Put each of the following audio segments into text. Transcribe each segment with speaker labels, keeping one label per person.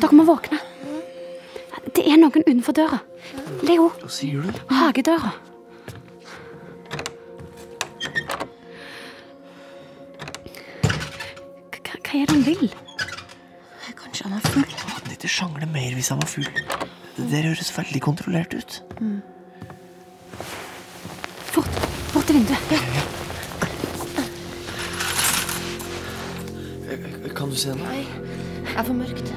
Speaker 1: Dere må våkne. Det er noen utenfor døra. Leo,
Speaker 2: Hva sier du?
Speaker 1: hagedøra. Hva- Hva hva er det han vil?
Speaker 3: Kanskje han er full.
Speaker 2: Han ikke sjangle mer hvis han var full. Det der høres veldig kontrollert ut.
Speaker 1: Fort, bort til vinduet.
Speaker 2: Kan du se noe?
Speaker 3: Nei, det er for mørkt.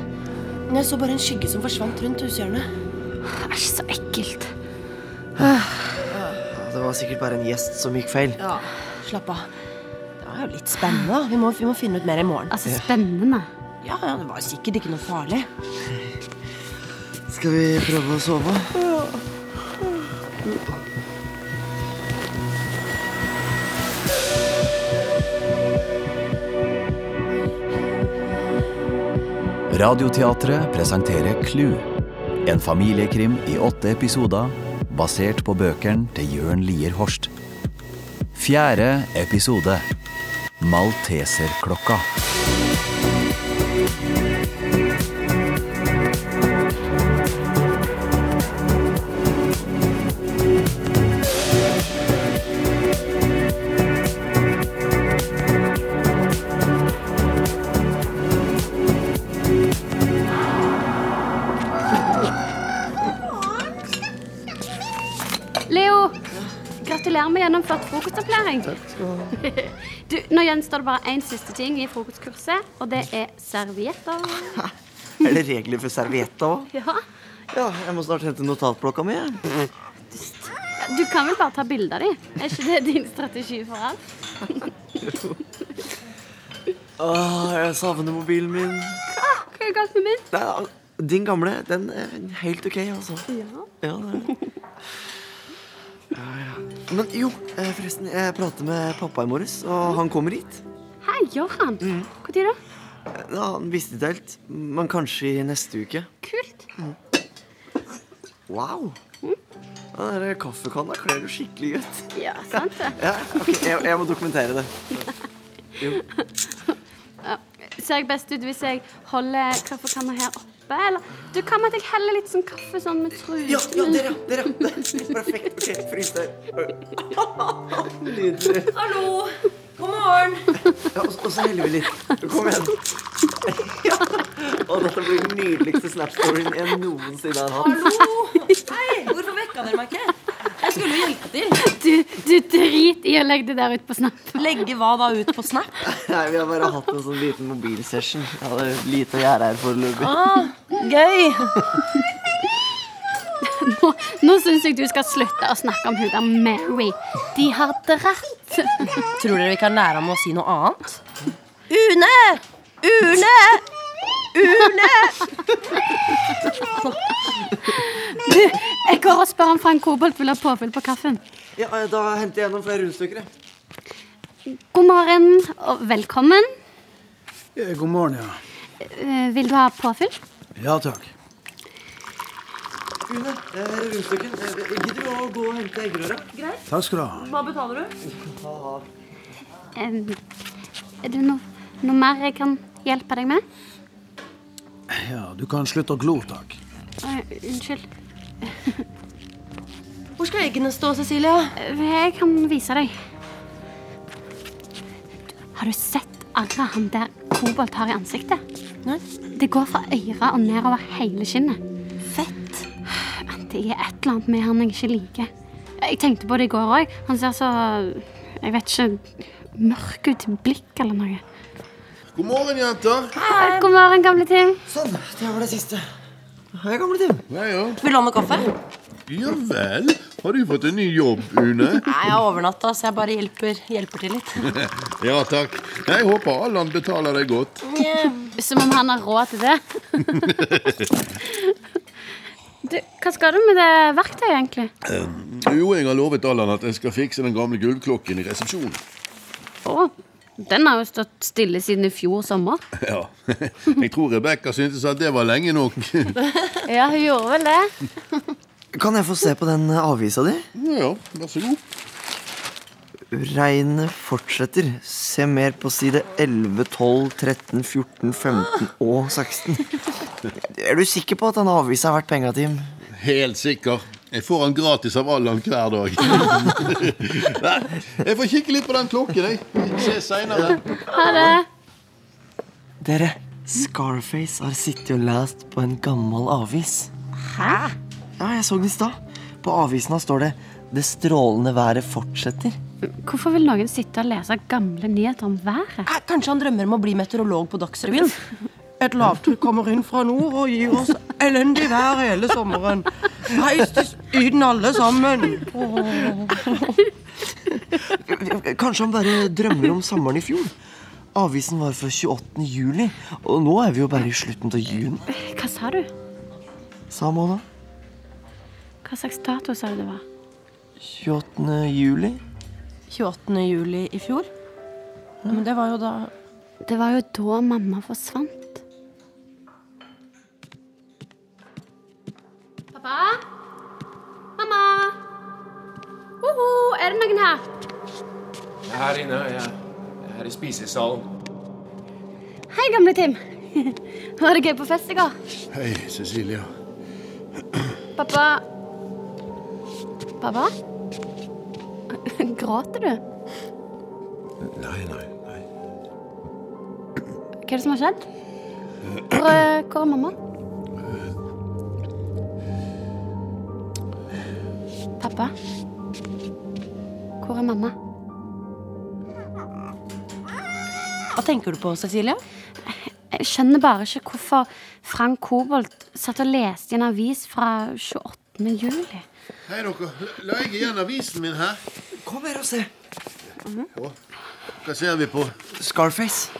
Speaker 3: Men jeg så bare en skygge som forsvant rundt hushjørnet.
Speaker 1: Æsj, så ekkelt.
Speaker 2: Det var sikkert bare en gjest som gikk feil.
Speaker 3: Ja. Slapp av. Det var jo litt spennende. da. Vi må, vi må finne ut mer i morgen.
Speaker 1: Altså, spennende.
Speaker 3: Ja, ja, det var sikkert ikke noe farlig.
Speaker 2: Skal vi prøve å sove?
Speaker 4: Radioteatret presenterer Clue. En familiekrim i åtte episoder, basert på bøkene til Jørn Lier Horst. Fjerde episode Malteserklokka.
Speaker 1: Leo, gratulerer med gjennomført frokostopplæring. Du, nå gjenstår det bare én siste ting i frokostkurset, og det er servietter.
Speaker 2: Er det regler for servietta òg?
Speaker 1: Ja.
Speaker 2: Ja, jeg må snart hente notatblokka mi. jeg.
Speaker 1: Du kan vel bare ta bilde av dem? Er ikke det din strategi for alt?
Speaker 2: Åh, Ah, jeg savner mobilen min.
Speaker 1: Hva er galt med min?
Speaker 2: Nei, al- din gamle, den er helt ok, altså.
Speaker 1: Ja.
Speaker 2: Ja, det er det. Ja, ja. Men jo, eh, forresten, jeg pratet med pappa i morges, og han kommer hit.
Speaker 1: Hei, gjør han?
Speaker 2: Mm.
Speaker 1: Når da?
Speaker 2: Eh, Ja, han visste ikke helt, men kanskje i neste uke.
Speaker 1: Kult.
Speaker 2: Wow! Den der kaffekanna kler du skikkelig godt.
Speaker 1: Ja, sant det.
Speaker 2: Ja, ok, jeg, jeg må dokumentere det.
Speaker 1: Ser jeg best ut hvis jeg holder kaffekanna her oppe, eller? Du, hva med at jeg heller litt sånn kaffe sånn med truten?
Speaker 2: Ja, ja, der, ja! Der, ja. Det er Perfekt. Ok, frys der. Nydelig.
Speaker 3: Hallo! God morgen!
Speaker 2: Ja, og, og så heller vi litt. Kom igjen. Ja. Og dette blir den nydeligste Snap-storyen jeg noensinne har hatt.
Speaker 3: Hallo! Hei! Hvorfor vekka dere meg ikke? Jeg skulle jo hjelpe til.
Speaker 1: Du, du drit i å legge det der ut på snap.
Speaker 3: Legge hva da ut på Snap?
Speaker 2: Nei, Vi har bare hatt en sånn liten mobilsession. Jeg hadde lite å gjøre her foreløpig.
Speaker 3: Ah, Gøy!
Speaker 1: Nå, nå syns jeg du skal slutte å snakke om hun der Mary. De har dratt.
Speaker 3: Tror dere vi kan lære ham å si noe annet? Une! Une! Une!
Speaker 1: Du, jeg går og spør om Frank Kobolt vil ha påfyll på kaffen.
Speaker 2: Ja, eh, Da henter jeg gjennom flere rundstykker. jeg.
Speaker 1: God morgen og velkommen.
Speaker 5: Eh, God morgen, ja.
Speaker 1: Eh, vil du ha påfyll?
Speaker 5: Ja takk.
Speaker 2: Une, eh, rundstykken. Eh, Gidder du å gå og hente eggerøra?
Speaker 5: Takk skal du ha.
Speaker 3: Hva betaler du?
Speaker 1: Eh, er det no, noe mer jeg kan hjelpe deg med?
Speaker 5: Ja, Du kan slutte å glo, takk.
Speaker 1: Oi, Eh, unnskyld.
Speaker 3: Hvor skal eggene stå, Cecilia?
Speaker 1: Eh, Jeg kan vise deg. Har du sett arret han der Kobolt har i ansiktet?
Speaker 3: Nei.
Speaker 1: Det går fra øret og nedover hele skinnet.
Speaker 3: Fett.
Speaker 1: Det er et eller annet med han jeg ikke liker. Jeg tenkte på det i går òg. Han ser så jeg vet ikke mørk ut i blikk eller noe.
Speaker 6: God morgen, jenter.
Speaker 1: Eh, God morgen, gamle Tim.
Speaker 2: Sånn. Det var det siste. Hei, gamle Tim.
Speaker 6: Ja, ja.
Speaker 3: Vil du ha noe kaffe? Nei,
Speaker 6: ja vel. Har du fått en ny jobb, Une?
Speaker 3: jeg har overnatta, så jeg bare hjelper, hjelper til litt.
Speaker 6: Ja takk. Jeg håper Allan betaler deg godt.
Speaker 1: Som om han har råd til det. Du, hva skal du med det verktøyet, egentlig?
Speaker 6: Jo, jeg har lovet Allan at jeg skal fikse den gamle gulvklokken i resepsjonen.
Speaker 1: Å, den har jo stått stille siden i fjor sommer.
Speaker 6: Ja. Jeg tror Rebekka syntes at det var lenge nok.
Speaker 1: Ja, hun gjorde vel det.
Speaker 2: Kan jeg få se på den eh, avisa di?
Speaker 6: Ja, ja. Vær så god.
Speaker 2: Regnet fortsetter. Se mer på side 11, 12, 13, 14, 15 og 16. Er du sikker på at han avviser har vært penga, Tim?
Speaker 6: Helt sikker. Jeg får han gratis av Allan hver dag. Nei, jeg får kikke litt på den klokken, jeg. Se seinere.
Speaker 1: Ha det.
Speaker 2: Dere, Scarface har sittet og lest på en gammel avis.
Speaker 3: Hæ?
Speaker 2: Ja, jeg så den i stad. På avisen står det 'Det strålende været fortsetter'.
Speaker 1: Hvorfor vil noen sitte og lese gamle nyheter om været?
Speaker 3: Eh, Kanskje han drømmer om å bli meteorolog på Dagsrevyen? Et lavtrykk kommer inn fra nord og gir oss elendig vær hele sommeren. Heis til Syden, alle sammen.
Speaker 2: Kanskje han bare drømmer om sommeren i fjor? Avisen var fra 28. juli, og nå er vi jo bare i slutten av juni,
Speaker 1: Hva sa du?
Speaker 2: sa Mona.
Speaker 1: Hva slags dato sa du det var?
Speaker 2: 28. juli.
Speaker 3: 28. juli i fjor. Ja, Men det var jo da
Speaker 1: Det var jo da mamma forsvant. Pappa? Mamma? Hoho, er det noen her?
Speaker 7: Jeg er her inne. Jeg jeg er her i spisesalen.
Speaker 1: Hei, gamle Tim. Var det gøy på fest i går?
Speaker 6: Hei, Cecilia.
Speaker 1: Pappa Pappa? Gråter du?
Speaker 6: Nei, nei, nei.
Speaker 1: Hva er det som har skjedd? Hvor, eh, hvor er mamma? Pappa? Hvor er mamma?
Speaker 3: Hva tenker du på, Cecilie?
Speaker 1: Jeg skjønner bare ikke hvorfor Frank Kobolt satt og leste i en avis fra 28. juli.
Speaker 6: Hei, dere. La jeg igjen avisen min her?
Speaker 2: Kom her og se.
Speaker 6: Hva ser vi på?
Speaker 2: Scarface.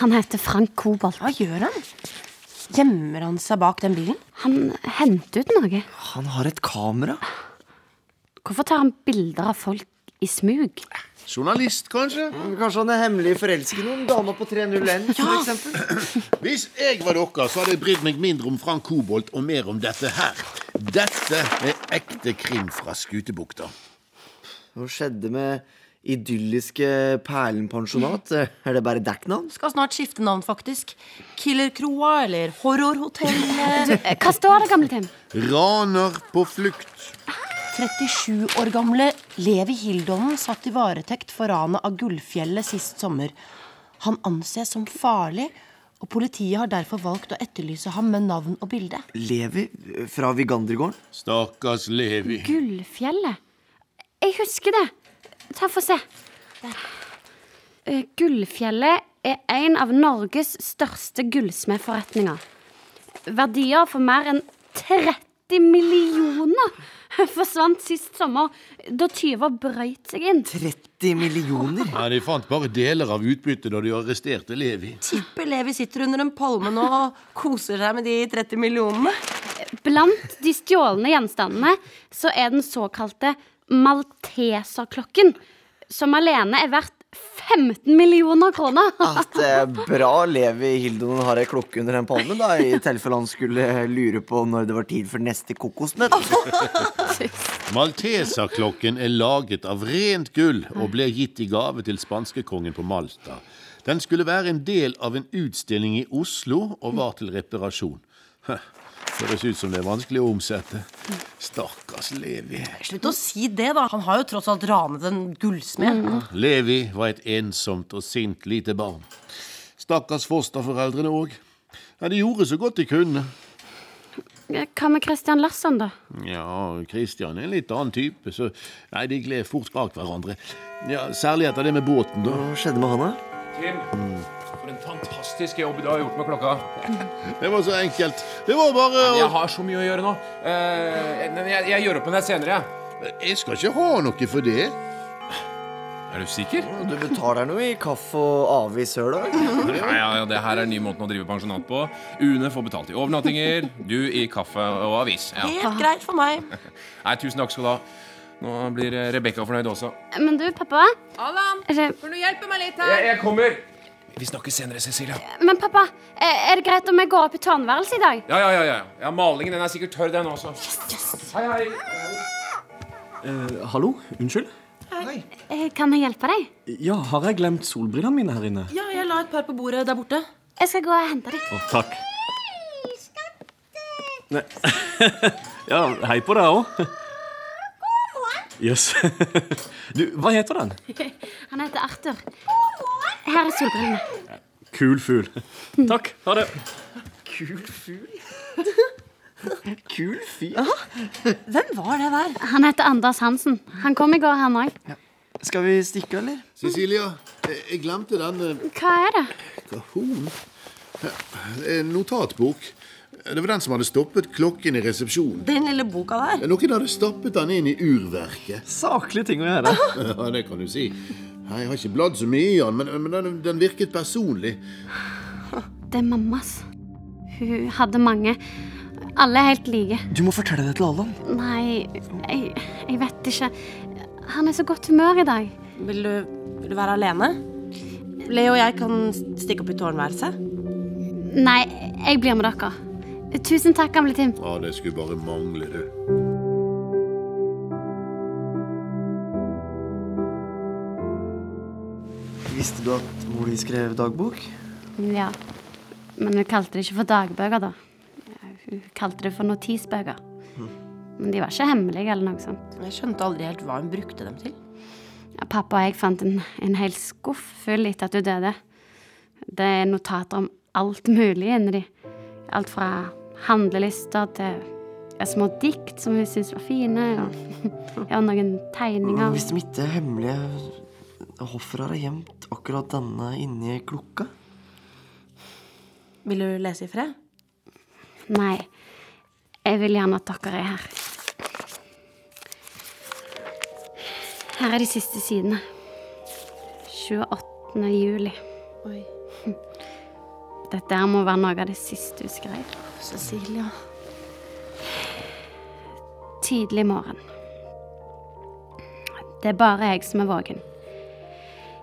Speaker 1: Han heter Frank Kobolt.
Speaker 3: Hva gjør han? Gjemmer han seg bak den bilen?
Speaker 1: Han henter ut noe.
Speaker 2: Han har et kamera.
Speaker 1: Hvorfor tar han bilder av folk i smug?
Speaker 6: Journalist, kanskje?
Speaker 2: Kanskje han er hemmelig forelsket i noen dame på 301, for eksempel.
Speaker 6: Hvis jeg var dere, så hadde jeg brydd meg mindre om Frank Kobolt og mer om dette her. Dette er ekte krim fra Skutebukta.
Speaker 2: Hva skjedde med idylliske Perlenpensjonat? Er det bare dekknavn?
Speaker 3: Skal snart skifte navn, faktisk. Killerkroa eller Horrorhotellet.
Speaker 1: Eh, Hva står det, gamle Tim?
Speaker 6: Raner på flukt.
Speaker 3: 37 år gamle Levi Hildonen satt i varetekt for ranet av Gullfjellet sist sommer. Han anses som farlig, og politiet har derfor valgt å etterlyse ham med navn og bilde.
Speaker 2: Levi fra Vigandergården?
Speaker 6: Stakkars Levi.
Speaker 1: Gullfjellet. Jeg husker det. Ta Få se. Eh, Gullfjellet er en av Norges største gullsmedforretninger. Verdier for mer enn 30 millioner forsvant sist sommer da tyver brøyt seg inn.
Speaker 2: 30 millioner?
Speaker 6: Ja, De fant bare deler av utbyttet da de arresterte Levi.
Speaker 3: Tipper Levi sitter under en palme nå og koser seg med de 30 millionene.
Speaker 1: Blant de stjålne gjenstandene så er den såkalte malteserklokken, som alene er verdt 15 millioner kroner.
Speaker 2: At det er bra Levi Hildonen har ei klokke under den palmen, da, i tilfelle han skulle eh, lure på når det var tid for neste kokosnøtt.
Speaker 6: Malteserklokken er laget av rent gull og ble gitt i gave til spanskekongen på Malta. Den skulle være en del av en utstilling i Oslo og var til reparasjon. Heh, Høres ut som det er vanskelig å omsette. Stakkars Levi.
Speaker 3: Slutt å si det, da. Han har jo tross alt ranet en gullsmed. Mm.
Speaker 6: Levi var et ensomt og sint lite barn. Stakkars fosterforeldrene òg. Ja, de gjorde så godt de kunne.
Speaker 1: Hva med Christian Larsson, da?
Speaker 6: Ja, Kristian er en litt annen type, så Nei, de gled fort bak hverandre. Ja, Særlig etter det med båten, da.
Speaker 2: Hva skjedde med han, da?
Speaker 7: Tim, for en fantastisk jobb du har gjort med klokka.
Speaker 6: Det var så enkelt. Det var bare
Speaker 7: Jeg
Speaker 6: å
Speaker 7: har så mye å gjøre nå. Eh, men jeg, jeg gjør opp med deg senere. jeg.
Speaker 6: Jeg skal ikke ha noe for det.
Speaker 7: Er du sikker?
Speaker 2: Du betaler noe i kaffe og avis sjøl, da?
Speaker 7: Ja, ja, ja, Det her er ny måten å drive pensjonat på. Une får betalt i overnattinger, du i kaffe og avis. Ja.
Speaker 3: Helt greit for meg.
Speaker 7: Nei, Tusen takk skal du ha. Nå blir Rebekka fornøyd også.
Speaker 1: Men du, pappa
Speaker 8: Allan,
Speaker 1: er det,
Speaker 8: kan du hjelpe meg litt her?
Speaker 7: Jeg, jeg kommer. Vi snakkes senere, Cecilia.
Speaker 1: Men pappa, er er det greit om jeg går opp i tårnværelset i dag?
Speaker 7: Ja, ja, ja, ja. ja Malingen den er sikkert tørr, den også. Hei, hei.
Speaker 9: Hallo, unnskyld?
Speaker 1: Eh, Kan jeg hjelpe deg?
Speaker 9: Ja, har jeg glemt solbrillene mine her inne?
Speaker 3: Ja, jeg la et par på bordet der borte.
Speaker 1: Jeg skal gå og hente dem.
Speaker 9: Å, takk.
Speaker 10: Skal
Speaker 9: Nei. Ja, hei på deg òg. Jøss. Du, hva heter den?
Speaker 1: Han heter Arthur. Her er solbrillene.
Speaker 9: Kul fugl. Takk. Ha det.
Speaker 2: Kul fyr.
Speaker 3: Hvem var det der?
Speaker 1: Han heter Anders Hansen. Han kom i går, han òg.
Speaker 2: Skal vi stikke, eller?
Speaker 6: Cecilia, eh, jeg glemte den eh,
Speaker 1: Hva er det?
Speaker 6: Kahon? Eh, Notatbok. Det var den som hadde stoppet klokken i resepsjonen.
Speaker 3: Den lille boka der?
Speaker 6: Noen hadde stappet den inn i urverket.
Speaker 9: Saklige ting å gjøre.
Speaker 6: Ja, det kan du si. Nei, Jeg har ikke bladd så mye i den, men, men den, den virket personlig.
Speaker 1: Det er mammas. Hun hadde mange. Alle er helt like.
Speaker 9: Du må fortelle det til alle.
Speaker 1: Nei, jeg, jeg vet ikke. Han er så godt humør i dag.
Speaker 3: Vil du, vil du være alene? Leo og jeg kan stikke opp i tårnværelset.
Speaker 1: Nei, jeg blir med dere. Tusen takk, gamle Tim.
Speaker 6: Ja, det skulle bare mangle, du.
Speaker 2: Visste du at mor di skrev dagbok?
Speaker 1: Ja. Men hun kalte det ikke for dagbøker, da. Hun kalte det for notisbøker. Men de var ikke hemmelige eller noe sånt.
Speaker 3: Jeg skjønte aldri helt hva hun brukte dem til.
Speaker 1: Ja, pappa og jeg fant en, en hel skuff full etter at hun døde. Det er notater om alt mulig inni de. Alt fra handlelister til små dikt som hun syntes var fine, og ja, noen tegninger.
Speaker 2: Hvis de ikke hemmelige hvorfor har jeg gjemt akkurat denne inni klokka?
Speaker 3: Vil du lese i fred?
Speaker 1: Nei, jeg vil gjerne at dere er her. Her er de siste sidene. 28. juli.
Speaker 3: Oi,
Speaker 1: Dette her må være noe av det siste hun skrev.
Speaker 3: Cecilia.
Speaker 1: tidlig morgen. Det er bare jeg som er våken.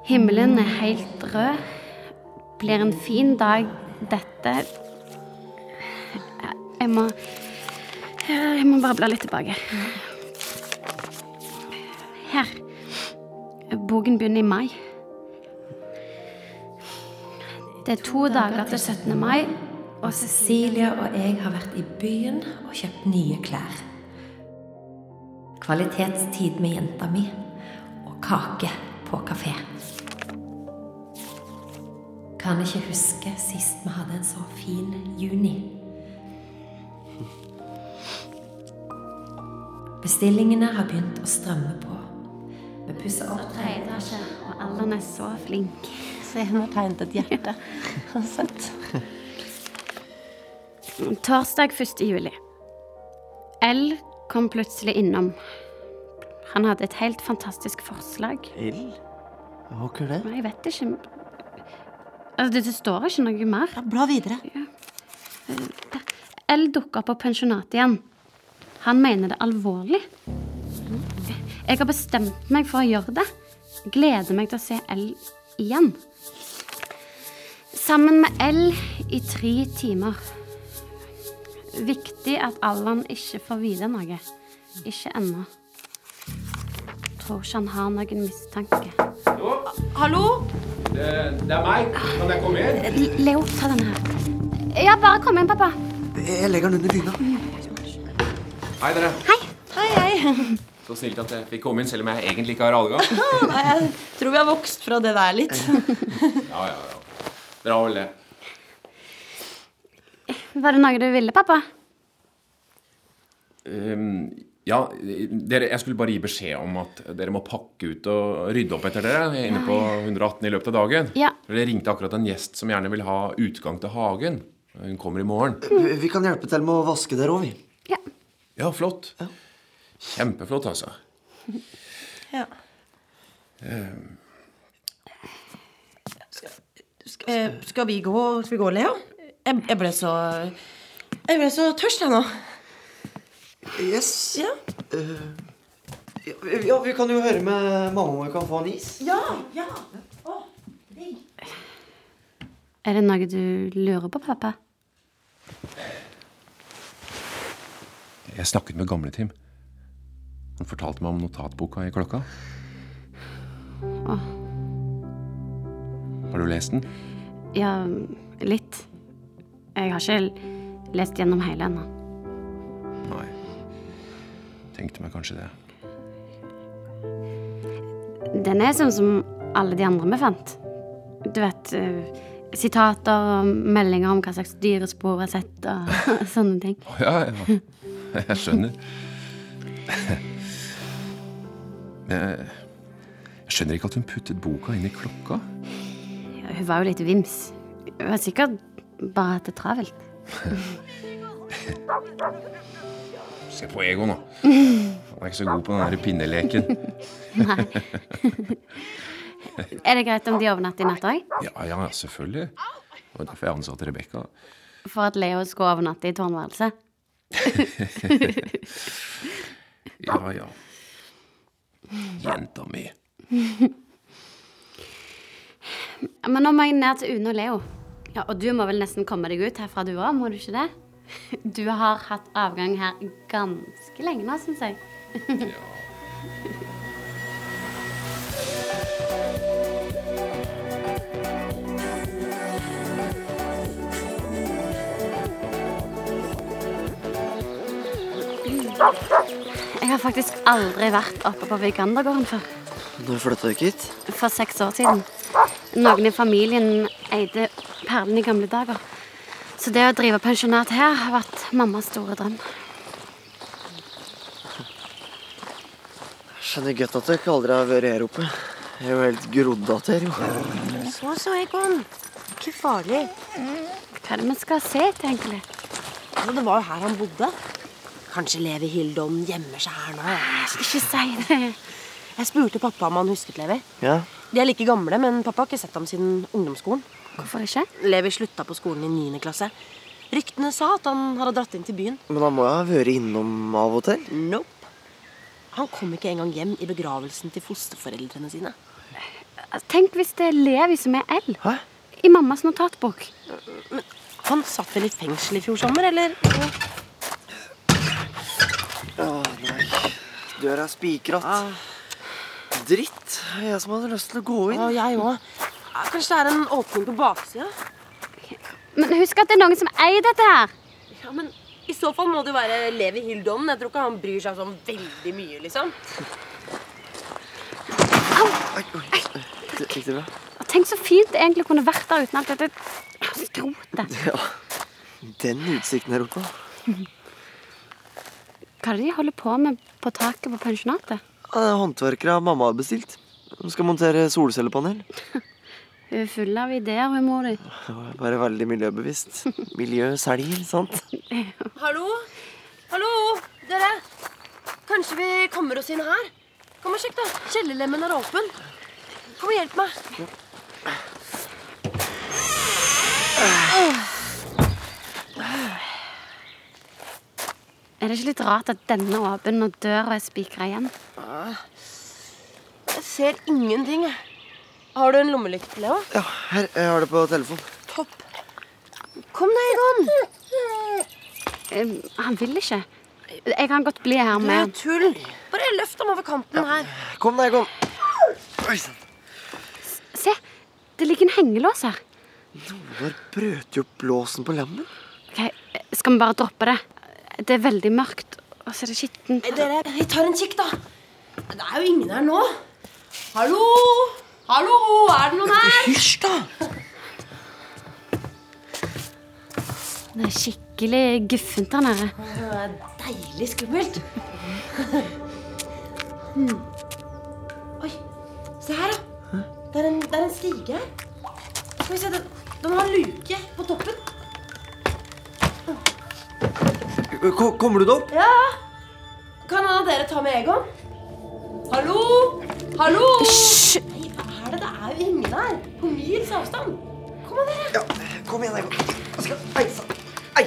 Speaker 1: Himmelen er helt rød. Blir en fin dag, dette. Jeg må Jeg må bare bla litt tilbake. Her. Boken begynner i mai. Det er to dager til 17. mai.
Speaker 8: Og Cecilia og jeg har vært i byen og kjøpt nye klær. Kvalitetstid med jenta mi og kake på kafé. Kan ikke huske sist vi hadde en så fin juni. Bestillingene har begynt å strømme på. Vi pusser opp tredje etasje.
Speaker 1: Og Allan er så flink.
Speaker 3: Se, hun har tegnet et hjerte. Søtt.
Speaker 1: Torsdag 1. juli. L kom plutselig innom. Han hadde et helt fantastisk forslag.
Speaker 2: L? Hva er det?
Speaker 1: Men jeg vet ikke Altså, det, det står ikke noe mer.
Speaker 3: Ja, bla videre.
Speaker 1: L dukka opp på pensjonatet igjen. Han mener det alvorlig. Jeg har bestemt meg for å gjøre det. Gleder meg til å se L igjen. Sammen med L i tre timer. Viktig at Allan ikke får vite noe. Ikke ennå. Tror ikke han har noen mistanke.
Speaker 3: Hallo?
Speaker 7: Det, er meg. Kan jeg komme inn?
Speaker 1: L- Leo, ta denne her. Ja, bare kom inn, pappa.
Speaker 2: Jeg legger den under dyna.
Speaker 7: Hei, dere.
Speaker 3: Hei, hei.
Speaker 7: Så snilt at jeg fikk komme inn, selv om jeg egentlig ikke har adgang.
Speaker 3: Nei, jeg tror vi har vokst fra det der litt.
Speaker 7: Ja, ja, ja. Dere har vel det.
Speaker 1: Var det noe du ville, pappa?
Speaker 7: Ehm, ja, dere, jeg skulle bare gi beskjed om at dere må pakke ut og rydde opp etter dere. Jeg er inne på 118 i løpet av dagen.
Speaker 1: Ja.
Speaker 7: For Det ringte akkurat en gjest som gjerne vil ha utgang til hagen. Hun kommer i morgen.
Speaker 2: Vi- Vi kan hjelpe til med å vaske der òg, vi.
Speaker 1: Ja.
Speaker 7: Ja, flott. Kjempeflott, altså.
Speaker 3: Ja. Eh, Skal, eh, skal vi gå, skal vi gå Leo? Jeg, jeg ble så Jeg ble så tørst, jeg nå.
Speaker 2: Yes.
Speaker 3: Ja.
Speaker 2: Eh, Ja, vi- ja, vi kan jo høre med mamma om vi kan få en is.
Speaker 3: Ja, ja.
Speaker 1: Er det noe du lurer på, pappa?
Speaker 7: Jeg snakket med Gamle-Tim. Han fortalte meg om notatboka i klokka. Har du lest den?
Speaker 1: Ja, litt. Jeg har ikke l- lest gjennom hele ennå.
Speaker 7: Tenkte meg kanskje det.
Speaker 1: Den er sånn som alle de andre vi fant. Du vet eh, Sitater og meldinger om hva slags dyrespor jeg har sett, og sånne ting.
Speaker 7: Å, Ja, ja. Jeg skjønner. Men jeg, jeg skjønner ikke at hun puttet boka inn i klokka.
Speaker 1: Ja, Hun var jo litt vims. Hun har sikkert bare hatt det travelt.
Speaker 7: Se på Ego nå. Han er ikke så god på den der pinneleken.
Speaker 1: Nei. er det greit om de overnatter i natt òg?
Speaker 7: Ja, ja, selvfølgelig. Det var derfor jeg ansatte Rebekka.
Speaker 1: For at Leo skal overnatte i tårnværelset?
Speaker 7: Ja, ja. Jenta mi.
Speaker 1: Ja, Men nå må jeg ned til Une og Leo. Ja, Og du må vel nesten komme deg ut herfra du òg, må du ikke det? Du har hatt avgang her ganske lenge nå, syns jeg. Jeg har faktisk aldri vært oppe på Vigandergården før.
Speaker 2: Når flytta dere hit?
Speaker 1: For seks år siden. Noen i familien eide perlen i gamle dager. Så det å drive pensjonat her har vært mammas store drøm.
Speaker 2: Skjønner godt at dere aldri har vært her oppe. Jeg er jo helt grodd att her, jo.
Speaker 3: Så, så, Egon. Ikke farlig.
Speaker 1: Hva er det vi skal se etter, egentlig?
Speaker 3: Altså, det var jo her han bodde. Kanskje Levi Hildon gjemmer seg her nå.
Speaker 1: Jeg skal ikke si det.
Speaker 3: Jeg spurte pappa om han husket Levi.
Speaker 2: Ja.
Speaker 3: De er like gamle, men pappa har ikke sett ham siden ungdomsskolen.
Speaker 1: Hvorfor ikke?
Speaker 3: Levi slutta på skolen i 9. klasse. Ryktene sa at han hadde dratt inn til byen.
Speaker 2: Men han må jo ha vært innom av og til?
Speaker 3: Nope. Han kom ikke engang hjem i begravelsen til fosterforeldrene sine.
Speaker 1: Tenk hvis det er Levi som er L.
Speaker 2: Hæ?
Speaker 1: I mammas notatbok.
Speaker 3: Han satt vel i fengsel i fjor sommer, eller?
Speaker 2: Døra er spikrat.
Speaker 3: Ah.
Speaker 2: Dritt. Jeg som hadde lyst til å gå inn.
Speaker 3: Ja, jeg òg. Kanskje det er en åpning på baksida?
Speaker 1: Men husk at det er noen som eier dette her.
Speaker 3: Ja, men I så fall må det jo være Levi Hildonen. Jeg tror ikke han bryr seg sånn veldig mye, liksom.
Speaker 2: Oi, oi. Det- Gikk det bra?
Speaker 1: Og Tenk så fint det egentlig kunne vært der uten alt dette skrotet.
Speaker 2: Den utsikten her oppe.
Speaker 1: Hva er det de holder på med på taket på pensjonatet?
Speaker 2: Ja, det er Håndverkere mamma har bestilt. De skal montere solcellepanel.
Speaker 1: Hun er full av ideer, hun mor di.
Speaker 2: Det var Bare veldig miljøbevisst. Miljø selger, sant?
Speaker 3: Hallo? Hallo, dere? Kanskje vi kommer oss inn her? Kom og sjekk, da. Kjellerlemmen er åpen. Kom og hjelp meg.
Speaker 1: Er det ikke litt rart at denne er åpen og døra er spikra igjen?
Speaker 3: Jeg ser ingenting. jeg. Har du en lommelykt, Leo?
Speaker 2: Ja, her. Jeg har det på telefon.
Speaker 3: Topp. Kom deg, Egon.
Speaker 1: Eh, han vil ikke. Jeg kan godt bli her med han.
Speaker 3: tull. Bare løft ham over kanten her.
Speaker 2: Kom deg, kom. Oi sann.
Speaker 1: Se, det ligger en hengelås her.
Speaker 2: Hvor brøt jo opp låsen på lemmen?
Speaker 1: Ok, eh, Skal vi bare droppe det? Det er veldig mørkt, og så er det skittent.
Speaker 3: Dere, vi tar en kikk, da. Det er jo ingen her nå. Hallo? Hallo, er det noen her? Hysj, da.
Speaker 1: Det er skikkelig guffent her nede.
Speaker 3: Deilig skummelt. Hmm. Oi, se her, da. Det er en, det er en stige her. Skal vi se, den, den har luke på toppen.
Speaker 2: Ko- Kommer du deg opp?
Speaker 3: Ja. Kan en av dere ta med Egon? Hallo? Hallo? Hysj! Nei, hva er det? Det er jo ingen her. På mils avstand. Kom an, dere.
Speaker 2: Ja. Kom igjen, Egon. Jeg skal- Ei sann. Ei.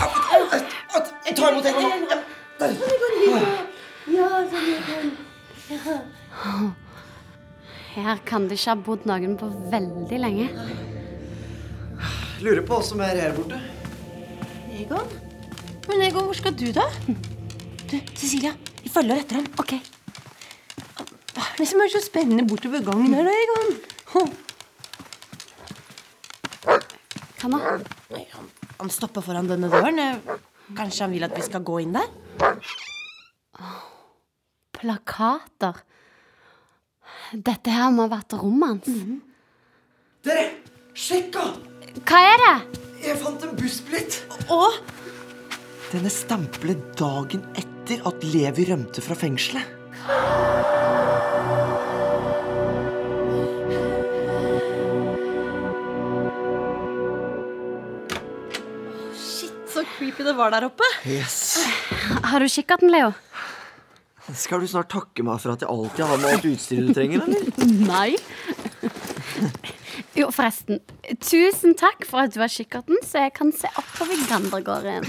Speaker 2: Au, au, au. Jeg tar imot Egon nå. Ja. Der.
Speaker 3: Egon, hyggelig. Ja, sånn Egon.
Speaker 1: Her kan det ikke ha bodd noen på veldig lenge.
Speaker 2: Lurer på hva som er her borte.
Speaker 3: Egon? Men Egon, hvor skal du, da? Du, Cecilia, vi følger etter ham. Ok. Hva er det som er så spennende bortover gangen her, da, Egon? Hå.
Speaker 1: Hva nå?
Speaker 3: Han stopper foran denne døren. Kanskje han vil at vi skal gå inn der?
Speaker 1: plakater. Dette her må ha vært romans.
Speaker 2: Dere, sjekka!
Speaker 1: Hva er det?
Speaker 2: Jeg fant en bussbillett.
Speaker 1: Å,
Speaker 9: Den er stemplet dagen etter at Levi rømte fra fengselet.
Speaker 10: Shit, så creepy det var der oppe.
Speaker 2: Yes.
Speaker 1: har du kikkerten, Leo?
Speaker 2: Skal du snart takke meg for at jeg alltid har med alt utstyret du trenger, eller?
Speaker 1: Nei. Jo, forresten. Tusen takk for at du har kikkerten, så jeg kan se oppover Gandergården.
Speaker 10: Å,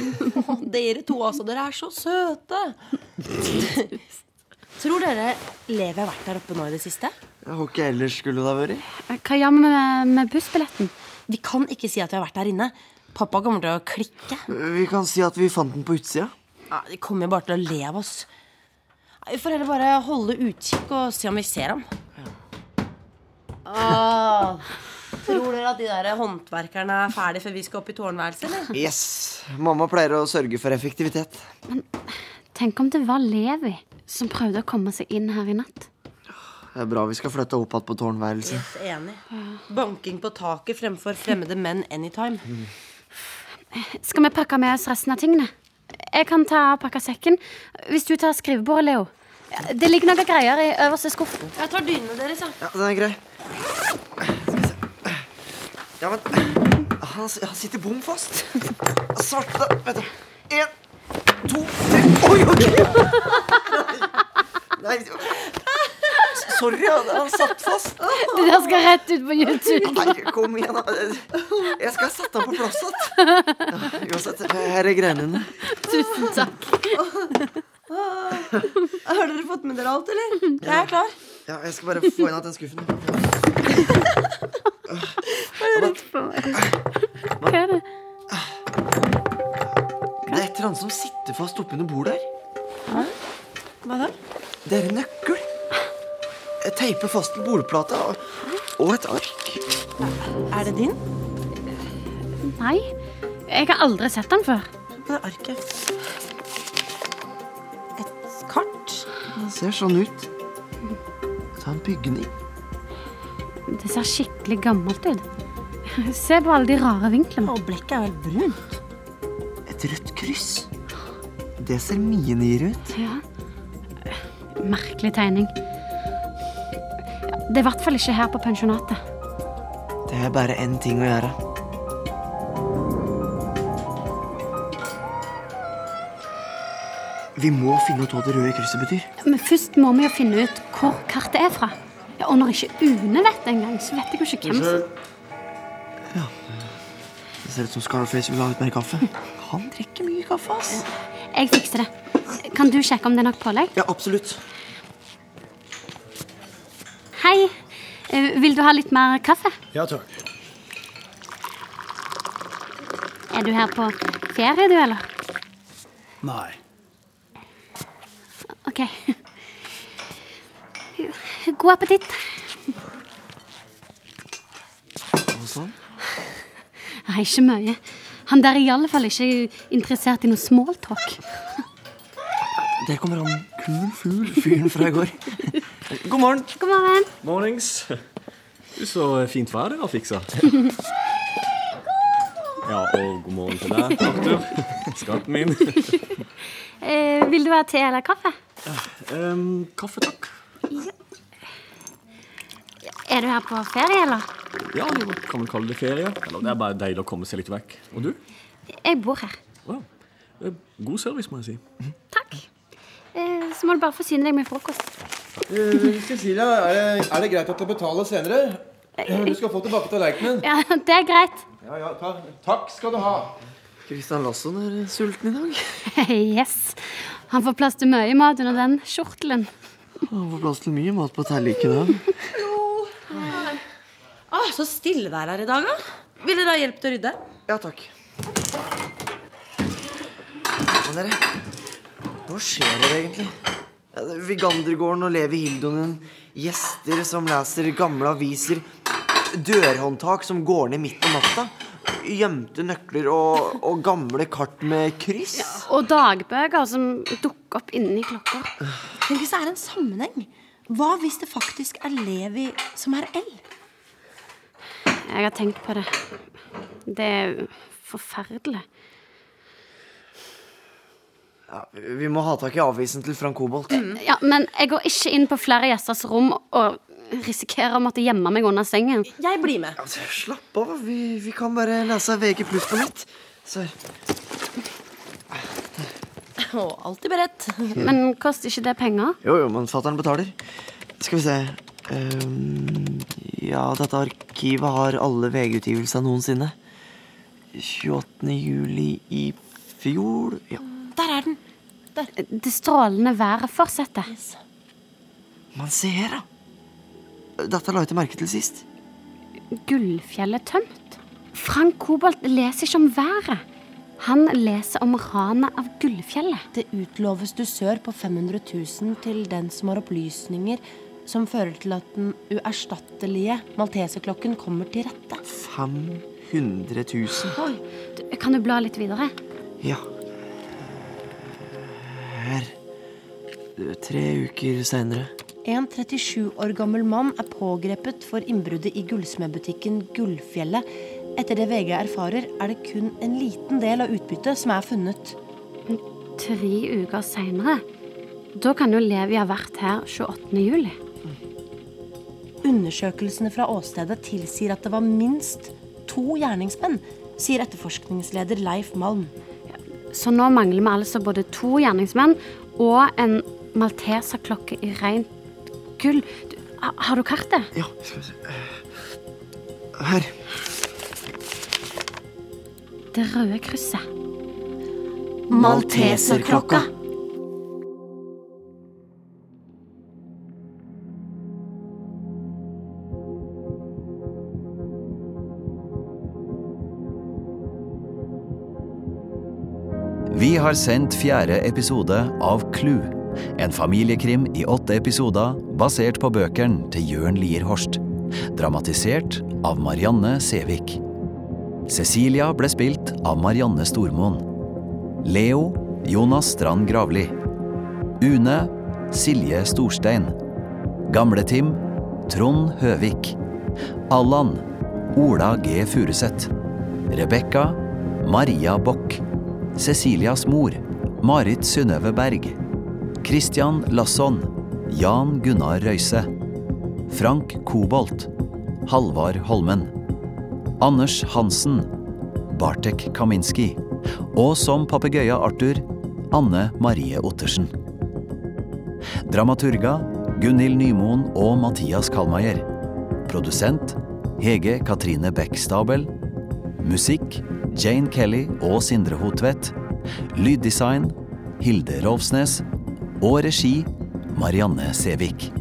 Speaker 10: Dere to altså, dere er så søte. Tror dere Levi har vært der oppe nå i det siste?
Speaker 2: Hvor ikke ellers skulle det ha vært?
Speaker 1: Hva gjør vi med, med bussbilletten?
Speaker 10: Vi kan ikke si at vi har vært der inne. Pappa kommer til å klikke.
Speaker 2: Vi kan si at vi fant den på utsida.
Speaker 10: Ja, De kommer bare til å le av oss. Nei, Vi får heller bare holde utkikk og se om vi ser ham. Åh, tror dere at de der håndverkerne er ferdig før vi skal opp i tårnværelset? eller?
Speaker 2: Yes. Mamma pleier å sørge for effektivitet.
Speaker 1: Tenk om det var Levi som prøvde å komme seg inn her i natt.
Speaker 2: Det er bra vi skal flytte opp igjen på tårnværelset.
Speaker 10: Yes, enig. Banking på taket fremfor fremmede menn anytime.
Speaker 1: Skal vi pakke med oss resten av tingene? Jeg kan ta og pakke sekken hvis du tar skrivebordet, Leo. Det ligger noen greier i øverste skuff.
Speaker 10: Jeg tar dynene deres, jeg.
Speaker 2: Ja, den er grei. Skal vi se Ja, men Han, s- han sitter bom fast. Svarte Vent, da. Én, to, tre Oi, ok! Nei. S- Sorry, han, han satt fast.
Speaker 1: Det der skal rett ut på YouTube.
Speaker 2: Nei, kom igjen, da. Jeg skal sette han på plass igjen. Ja, Uansett, her er greiene dine.
Speaker 1: Tusen takk.
Speaker 10: Har dere fått med dere alt, eller? Jeg er klar.
Speaker 2: Ja, jeg skal bare få inn igjen den skuffen.
Speaker 1: Hva er det?
Speaker 2: Det er et eller annet som sitter fast oppunder bordet her.
Speaker 10: Hva da?
Speaker 2: Det er en nøkkel. Jeg teiper fast til bordplata og- og et ark.
Speaker 10: Er det din?
Speaker 1: Nei, jeg har aldri sett den før.
Speaker 10: Det er arket. Et kart?
Speaker 2: Den ser sånn ut. Ta en bygning.
Speaker 1: Det ser skikkelig gammelt ut. Se på alle de rare vinklene.
Speaker 10: Og blekket er vel brunt?
Speaker 2: Et rødt kryss. Det ser mye nyere ut.
Speaker 1: Ja. Merkelig tegning. Det er i hvert fall ikke her på pensjonatet.
Speaker 2: Det er bare én ting å gjøre. Vi må finne ut hva det røde krysset betyr.
Speaker 1: Men først må vi jo finne ut hvor kartet er fra. Ja, og når ikke Une vet det engang, så vet jeg jo ikke hvem som
Speaker 2: Det ser ut som Scarface vil ha litt mer kaffe. Han drikker mye kaffe, ass.
Speaker 1: Jeg fikser det. Kan du sjekke om det er nok pålegg?
Speaker 2: Ja, absolutt.
Speaker 1: Hei. Eh, Vil du ha litt mer kaffe?
Speaker 5: Ja takk.
Speaker 1: Er du her på ferie, du, eller?
Speaker 5: Nei.
Speaker 1: OK. God appetitt.
Speaker 2: Og sånn.
Speaker 1: Nei, ikke mye. Han der er i alle fall ikke interessert i noe smalltalk.
Speaker 2: Der kommer han kul fugl, fyren fra i går. God morgen.
Speaker 1: God morgen.
Speaker 9: Mornings. Du, så fint vær dere har fiksa. Ja, og god morgen til deg, Arthur. Skatten min.
Speaker 1: Eh, vil du ha te eller kaffe?
Speaker 9: Em, kaffe, takk.
Speaker 1: Er du her på ferie, eller?
Speaker 9: Ja, vi kan vel kalle det ferie. Eller det er bare deilig å komme seg litt vekk. Og du?
Speaker 1: Jeg bor her.
Speaker 9: Wow. Eh, God service, må jeg si.
Speaker 1: Takk. Eh, så må du bare forsyne deg med frokost.
Speaker 11: Eh, Cecilia, er det, er det greit at du betaler senere? Du skal få tilbake tallerkenen.
Speaker 1: Eh, Ja, Det er greit.
Speaker 11: Ja, ja, ta, takk skal du ha.
Speaker 2: Kristian Lasson er eh, sulten i dag.
Speaker 1: Yes. Han får plass til mye mat under den kjortelen.
Speaker 2: Han får plass til mye mat på tallerkenen.
Speaker 10: Åh, så stille det er her i dag, da. Vil dere ha hjelp til å rydde?
Speaker 2: Ja, takk. Men dere, Sånn hva skjer her egentlig? Ja, det er Vigandergården og Levi Hildonen, gjester som leser gamle aviser, dørhåndtak som går ned midt på natta, gjemte nøkler og, og gamle kart med kryss.
Speaker 1: Og dagbøker som dukker opp inni klokka.
Speaker 3: Tenk hvis det er en sammenheng. Hva hvis det faktisk er Levi som er L?
Speaker 1: Jeg har tenkt på det. Det er forferdelig.
Speaker 2: Ja, vi må ha tak i avisen til Frank Kobolt.
Speaker 1: Ja, men jeg går ikke inn på flere gjesters rom og risikerer å måtte gjemme meg under sengen.
Speaker 3: Jeg blir med.
Speaker 2: Altså, slapp av, vi, vi kan bare lese VG pluss på nett. Så
Speaker 3: Å, alltid beredt.
Speaker 1: Men koster ikke det penger?
Speaker 2: Jo, jo, men fattern betaler. Skal vi se Ehm, Ja, dette arkivet har alle VG-utgivelser noensinne. 28. juli i fjor Ja.
Speaker 3: Der er den.
Speaker 1: Det strålende været fortsetter.
Speaker 2: Men se her, da. Dette la jeg ikke merke til sist.
Speaker 1: Gullfjellet tømt. Frank Kobolt leser ikke om været. Han leser om ranet av Gullfjellet.
Speaker 3: Det utloves dusør på 500 000 til den som har opplysninger som fører til at den uerstattelige malteserklokken kommer til rette.
Speaker 2: 500 000.
Speaker 1: Oi, du, kan du bla litt videre?
Speaker 2: Ja. Her. Tre uker seinere.
Speaker 3: En 37 år gammel mann er pågrepet for innbruddet i gullsmedbutikken Gullfjellet. Etter det VG erfarer, er det kun en liten del av utbyttet som er funnet.
Speaker 1: Tre uker seinere. Da kan jo Levi ha vært her 28. juli.
Speaker 3: Undersøkelsene fra åstedet tilsier at det var minst to gjerningsmenn, sier etterforskningsleder Leif Malm.
Speaker 1: Så nå mangler vi altså både to gjerningsmenn og en malteserklokke i rent gull. Du, ha- har du kartet?
Speaker 2: Ja, skal vi se. Her.
Speaker 1: Det røde krysset.
Speaker 3: Malteserklokka.
Speaker 4: Vi har sendt fjerde episode av Klu, en familiekrim i åtte episoder basert på bøkene til Jørn Lier Horst. Dramatisert av Marianne Sævik. Cecilia ble spilt av Marianne Stormoen. Leo Jonas Strand Gravli. Une Silje Storstein. Gamle-Tim Trond Høvik. Allan Ola G. Furuseth. Rebekka Maria Bock. Cecilias mor, Marit Synnøve Berg. Christian Lasson, Jan Gunnar Røise. Frank Kobolt, Halvard Holmen. Anders Hansen, Bartek Kaminski. Og som papegøyen Arthur, Anne Marie Ottersen. Dramaturga Gunhild Nymoen og Mathias Kallmeier. Produsent Hege Katrine Beckstabel. Musikk Jane Kelly og Sindre Hotvedt. Lyddesign Hilde Rovsnes. Og regi Marianne Sævik.